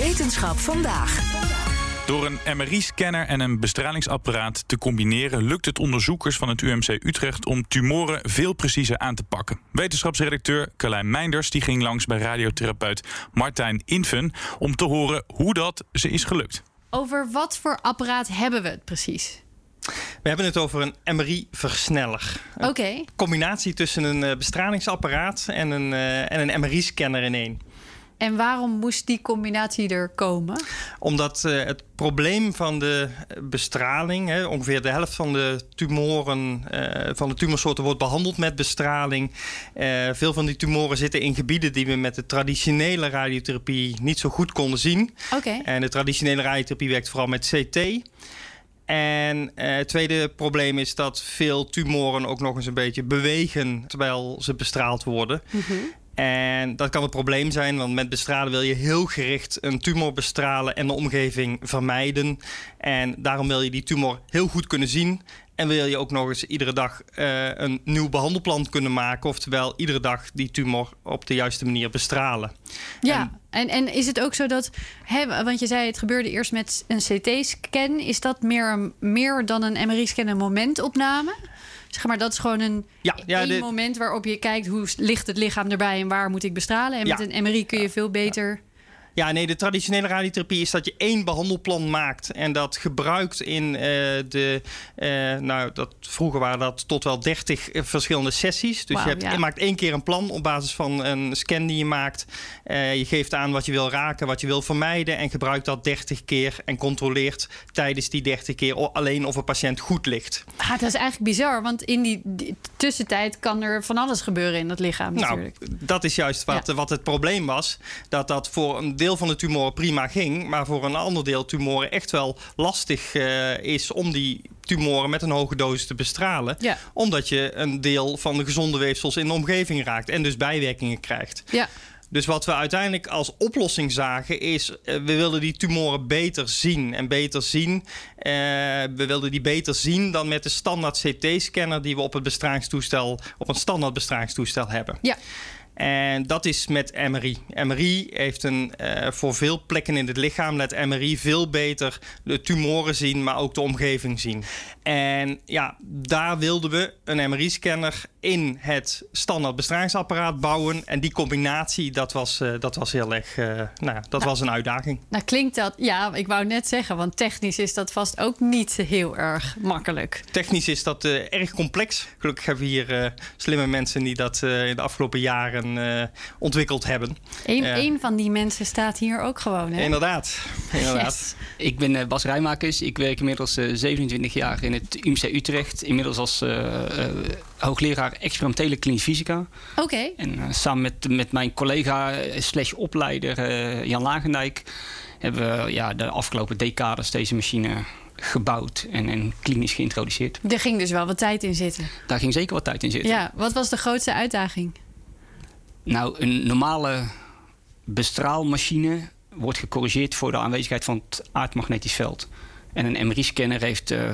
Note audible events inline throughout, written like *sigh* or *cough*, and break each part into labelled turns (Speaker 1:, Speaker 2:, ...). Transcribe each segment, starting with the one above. Speaker 1: Wetenschap vandaag.
Speaker 2: Door een MRI-scanner en een bestralingsapparaat te combineren, lukt het onderzoekers van het UMC Utrecht om tumoren veel preciezer aan te pakken. Wetenschapsredacteur Carlijn Meinders die ging langs bij radiotherapeut Martijn Inven om te horen hoe dat ze is gelukt.
Speaker 3: Over wat voor apparaat hebben we het precies?
Speaker 4: We hebben het over een MRI-versneller.
Speaker 3: Oké. Okay.
Speaker 4: Combinatie tussen een eh, bestralingsapparaat en een, eh, en een MRI-scanner in één.
Speaker 3: En waarom moest die combinatie er komen?
Speaker 4: Omdat uh, het probleem van de eh, bestraling, hè, ongeveer de helft van de tumoren, uh, van de tumorsoorten wordt behandeld met bestraling. Uh, veel van die tumoren zitten in gebieden die we met de traditionele radiotherapie niet zo goed konden zien.
Speaker 3: Oké. Okay.
Speaker 4: En de traditionele radiotherapie werkt vooral met CT. En eh, het tweede probleem is dat veel tumoren ook nog eens een beetje bewegen terwijl ze bestraald worden. Mm -hmm. En dat kan een probleem zijn, want met bestralen wil je heel gericht een tumor bestralen en de omgeving vermijden. En daarom wil je die tumor heel goed kunnen zien. En wil je ook nog eens iedere dag uh, een nieuw behandelplan kunnen maken. Oftewel, iedere dag die tumor op de juiste manier bestralen.
Speaker 3: Ja, en, en, en is het ook zo dat, hè, want je zei het gebeurde eerst met een CT-scan. Is dat meer, meer dan een MRI-scan een momentopname? Zeg maar, dat is gewoon een
Speaker 4: ja, ja,
Speaker 3: de... moment waarop je kijkt hoe ligt het lichaam erbij en waar moet ik bestralen. En ja. met een MRI kun je veel beter.
Speaker 4: Ja, nee, de traditionele radiotherapie is dat je één behandelplan maakt. En dat gebruikt in uh, de. Uh, nou, dat, vroeger waren dat tot wel 30 verschillende sessies. Dus wow, je, hebt, ja. je, maakt één keer een plan op basis van een scan die je maakt. Uh, je geeft aan wat je wil raken, wat je wil vermijden. En gebruikt dat 30 keer en controleert tijdens die 30 keer alleen of een patiënt goed ligt.
Speaker 3: Ah, dat is eigenlijk bizar, want in die, die tussentijd kan er van alles gebeuren in dat lichaam. Natuurlijk.
Speaker 4: Nou, dat is juist wat, ja. wat het probleem was. Dat dat voor een deel van de tumoren prima ging, maar voor een ander deel tumoren echt wel lastig uh, is om die tumoren met een hoge dosis te bestralen.
Speaker 3: Ja.
Speaker 4: Omdat je een deel van de gezonde weefsels in de omgeving raakt en dus bijwerkingen krijgt.
Speaker 3: Ja.
Speaker 4: Dus wat we uiteindelijk als oplossing zagen is, uh, we wilden die tumoren beter zien. En beter zien, uh, we wilden die beter zien dan met de standaard CT-scanner die we op het bestralingstoestel, op een standaard bestralingstoestel hebben.
Speaker 3: Ja.
Speaker 4: En dat is met MRI. MRI heeft een, uh, voor veel plekken in het lichaam, laat MRI veel beter de tumoren zien, maar ook de omgeving zien. En ja, daar wilden we een MRI-scanner in het standaard bestralingsapparaat bouwen. En die combinatie, dat was, uh, dat was heel erg, uh, nou, dat nou, was een uitdaging.
Speaker 3: Nou klinkt dat, ja, ik wou net zeggen, want technisch is dat vast ook niet heel erg makkelijk.
Speaker 4: Technisch is dat eh, erg complex. Gelukkig hebben we hier eh, slimme mensen die dat eh, in de afgelopen jaren uh, ontwikkeld hebben.
Speaker 3: Eén uh, een van die mensen staat hier ook gewoon. *laughs* Hè?
Speaker 4: Inderdaad. inderdaad.
Speaker 5: Yes. Ik ben eh, Bas Rijmakers. Ik werk inmiddels uh, 27 jaar in het UMC Utrecht. Inmiddels als eh, hoogleraar experimentele klinische fysica.
Speaker 3: Oké. Okay.
Speaker 5: En eh, samen met, met mijn collega eh, slash opleider eh, Jan Lagendijk... hebben we ja, de afgelopen decades deze machine gebouwd en, en, klinisch geïntroduceerd.
Speaker 3: Er ging dus wel wat tijd in zitten.
Speaker 5: Daar ging zeker wat tijd in zitten.
Speaker 3: Ja, wat was de grootste uitdaging?
Speaker 5: Nou, een normale bestraalmachine wordt gecorrigeerd voor de aanwezigheid van het aardmagnetisch veld. En een MRI-scanner heeft uh,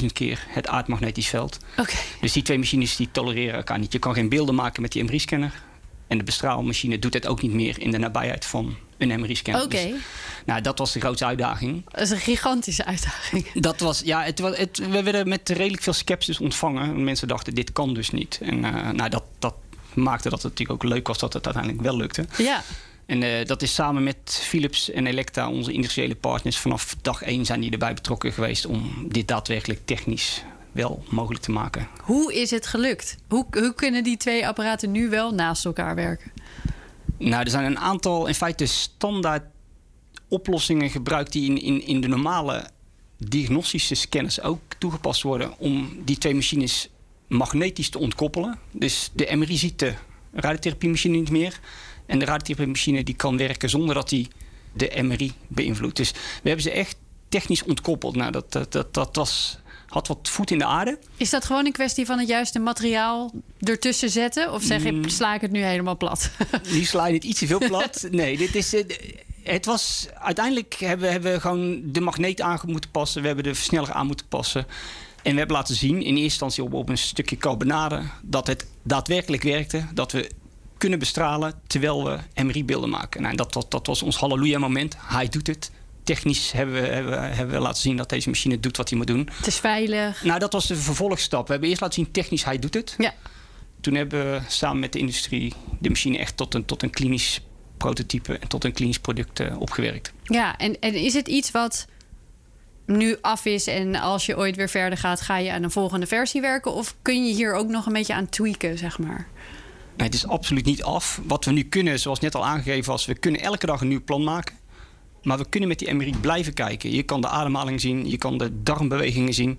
Speaker 5: 30.000 keer het aardmagnetisch veld.
Speaker 3: Oké. Okay.
Speaker 5: Dus die twee machines die tolereren elkaar niet. Je kan geen beelden maken met die MRI-scanner. En de bestraalmachine doet het ook niet meer in de nabijheid van een MRI-scanner.
Speaker 3: Oké. Okay. Dus,
Speaker 5: nou, dat was de grootste uitdaging.
Speaker 3: Dat is een gigantische uitdaging. *laughs*
Speaker 5: Dat was, ja, het, het, we werden met redelijk veel sceptisch ontvangen. Mensen dachten, dit kan dus niet. En uh, nou, dat, dat maakte dat het natuurlijk ook leuk was dat het uiteindelijk wel lukte.
Speaker 3: Ja.
Speaker 5: En uh, dat is samen met Philips en Elekta, onze industriële partners, vanaf dag één zijn die erbij betrokken geweest om dit daadwerkelijk technisch wel mogelijk te maken.
Speaker 3: Hoe is het gelukt? Hoe, hoe kunnen die twee apparaten nu wel naast elkaar werken?
Speaker 5: Nou, er zijn een aantal in feite standaard oplossingen gebruikt die in, in, in de normale diagnostische scanners ook toegepast worden om die twee machines magnetisch te ontkoppelen. Dus de MRI ziet de radiotherapiemachine niet meer. En de radiotherapie die kan werken zonder dat die de MRI beïnvloedt. Dus we hebben ze echt technisch ontkoppeld. Nou, dat, dat, dat, dat was, had wat voet in de aarde.
Speaker 3: Is dat gewoon een kwestie van het juiste materiaal ertussen zetten? Of zeg je, sla ik het nu helemaal plat? *laughs*
Speaker 5: Nu sla je het iets te veel plat. Nee, dit is. eh, het was, uiteindelijk hebben, we- hebben we gewoon de magneet aan moeten passen. We hebben de versneller aan moeten passen. En we hebben laten zien, in eerste instantie op, op een stukje carbonade, dat het daadwerkelijk werkte. Dat we kunnen bestralen terwijl we MRI-beelden maken. Nou, en dat, dat, dat was ons halleluja-moment. Hij doet het. Technisch hebben we, hebben, we- hebben we laten zien dat deze machine doet wat hij moet doen.
Speaker 3: het is veilig.
Speaker 5: Nou, dat was de vervolgstap. We hebben eerst laten zien, technisch, hij doet het.
Speaker 3: Ja.
Speaker 5: Toen hebben we samen met de industrie de machine echt tot een, tot een klinisch prototype en tot een klinisch product eh, opgewerkt.
Speaker 3: Ja, en, en is het iets wat nu af is en als je ooit weer verder gaat, ga je aan een volgende versie werken? Of kun je hier ook nog een beetje aan tweaken, zeg maar?
Speaker 5: Maar het is absoluut niet af. Wat we nu kunnen, zoals net al aangegeven was, we kunnen elke dag een nieuw plan maken. Maar we kunnen met die MRI blijven kijken. Je kan de ademhaling zien, je kan de darmbewegingen zien.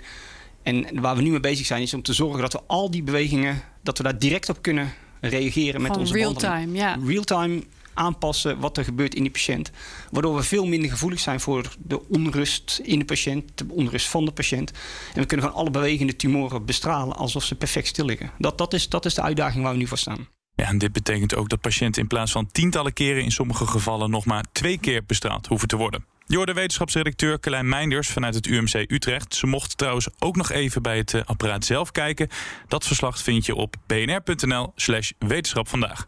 Speaker 5: En waar we nu mee bezig zijn, is om te zorgen dat we al die bewegingen, dat we daar direct op kunnen reageren met
Speaker 3: Gewoon
Speaker 5: onze
Speaker 3: real time,
Speaker 5: behandeling.
Speaker 3: ja.
Speaker 5: real-time aanpassen wat er gebeurt in die patiënt. Waardoor we veel minder gevoelig zijn voor de onrust in de patiënt, de onrust van de patiënt. En we kunnen gewoon alle bewegende tumoren bestralen alsof ze perfect stil liggen. Dat, dat, is, dat is de uitdaging waar we nu voor staan.
Speaker 2: Ja, en dit betekent ook dat patiënten in plaats van tientallen keren in sommige gevallen nog maar twee keer bestraald hoeven te worden. Je hoorde wetenschapsredacteur Carlijn Meinders vanuit het UMC Utrecht. Ze mocht trouwens ook nog even bij het eh, apparaat zelf kijken. Dat verslag vind je op bnr.nl slash wetenschap vandaag.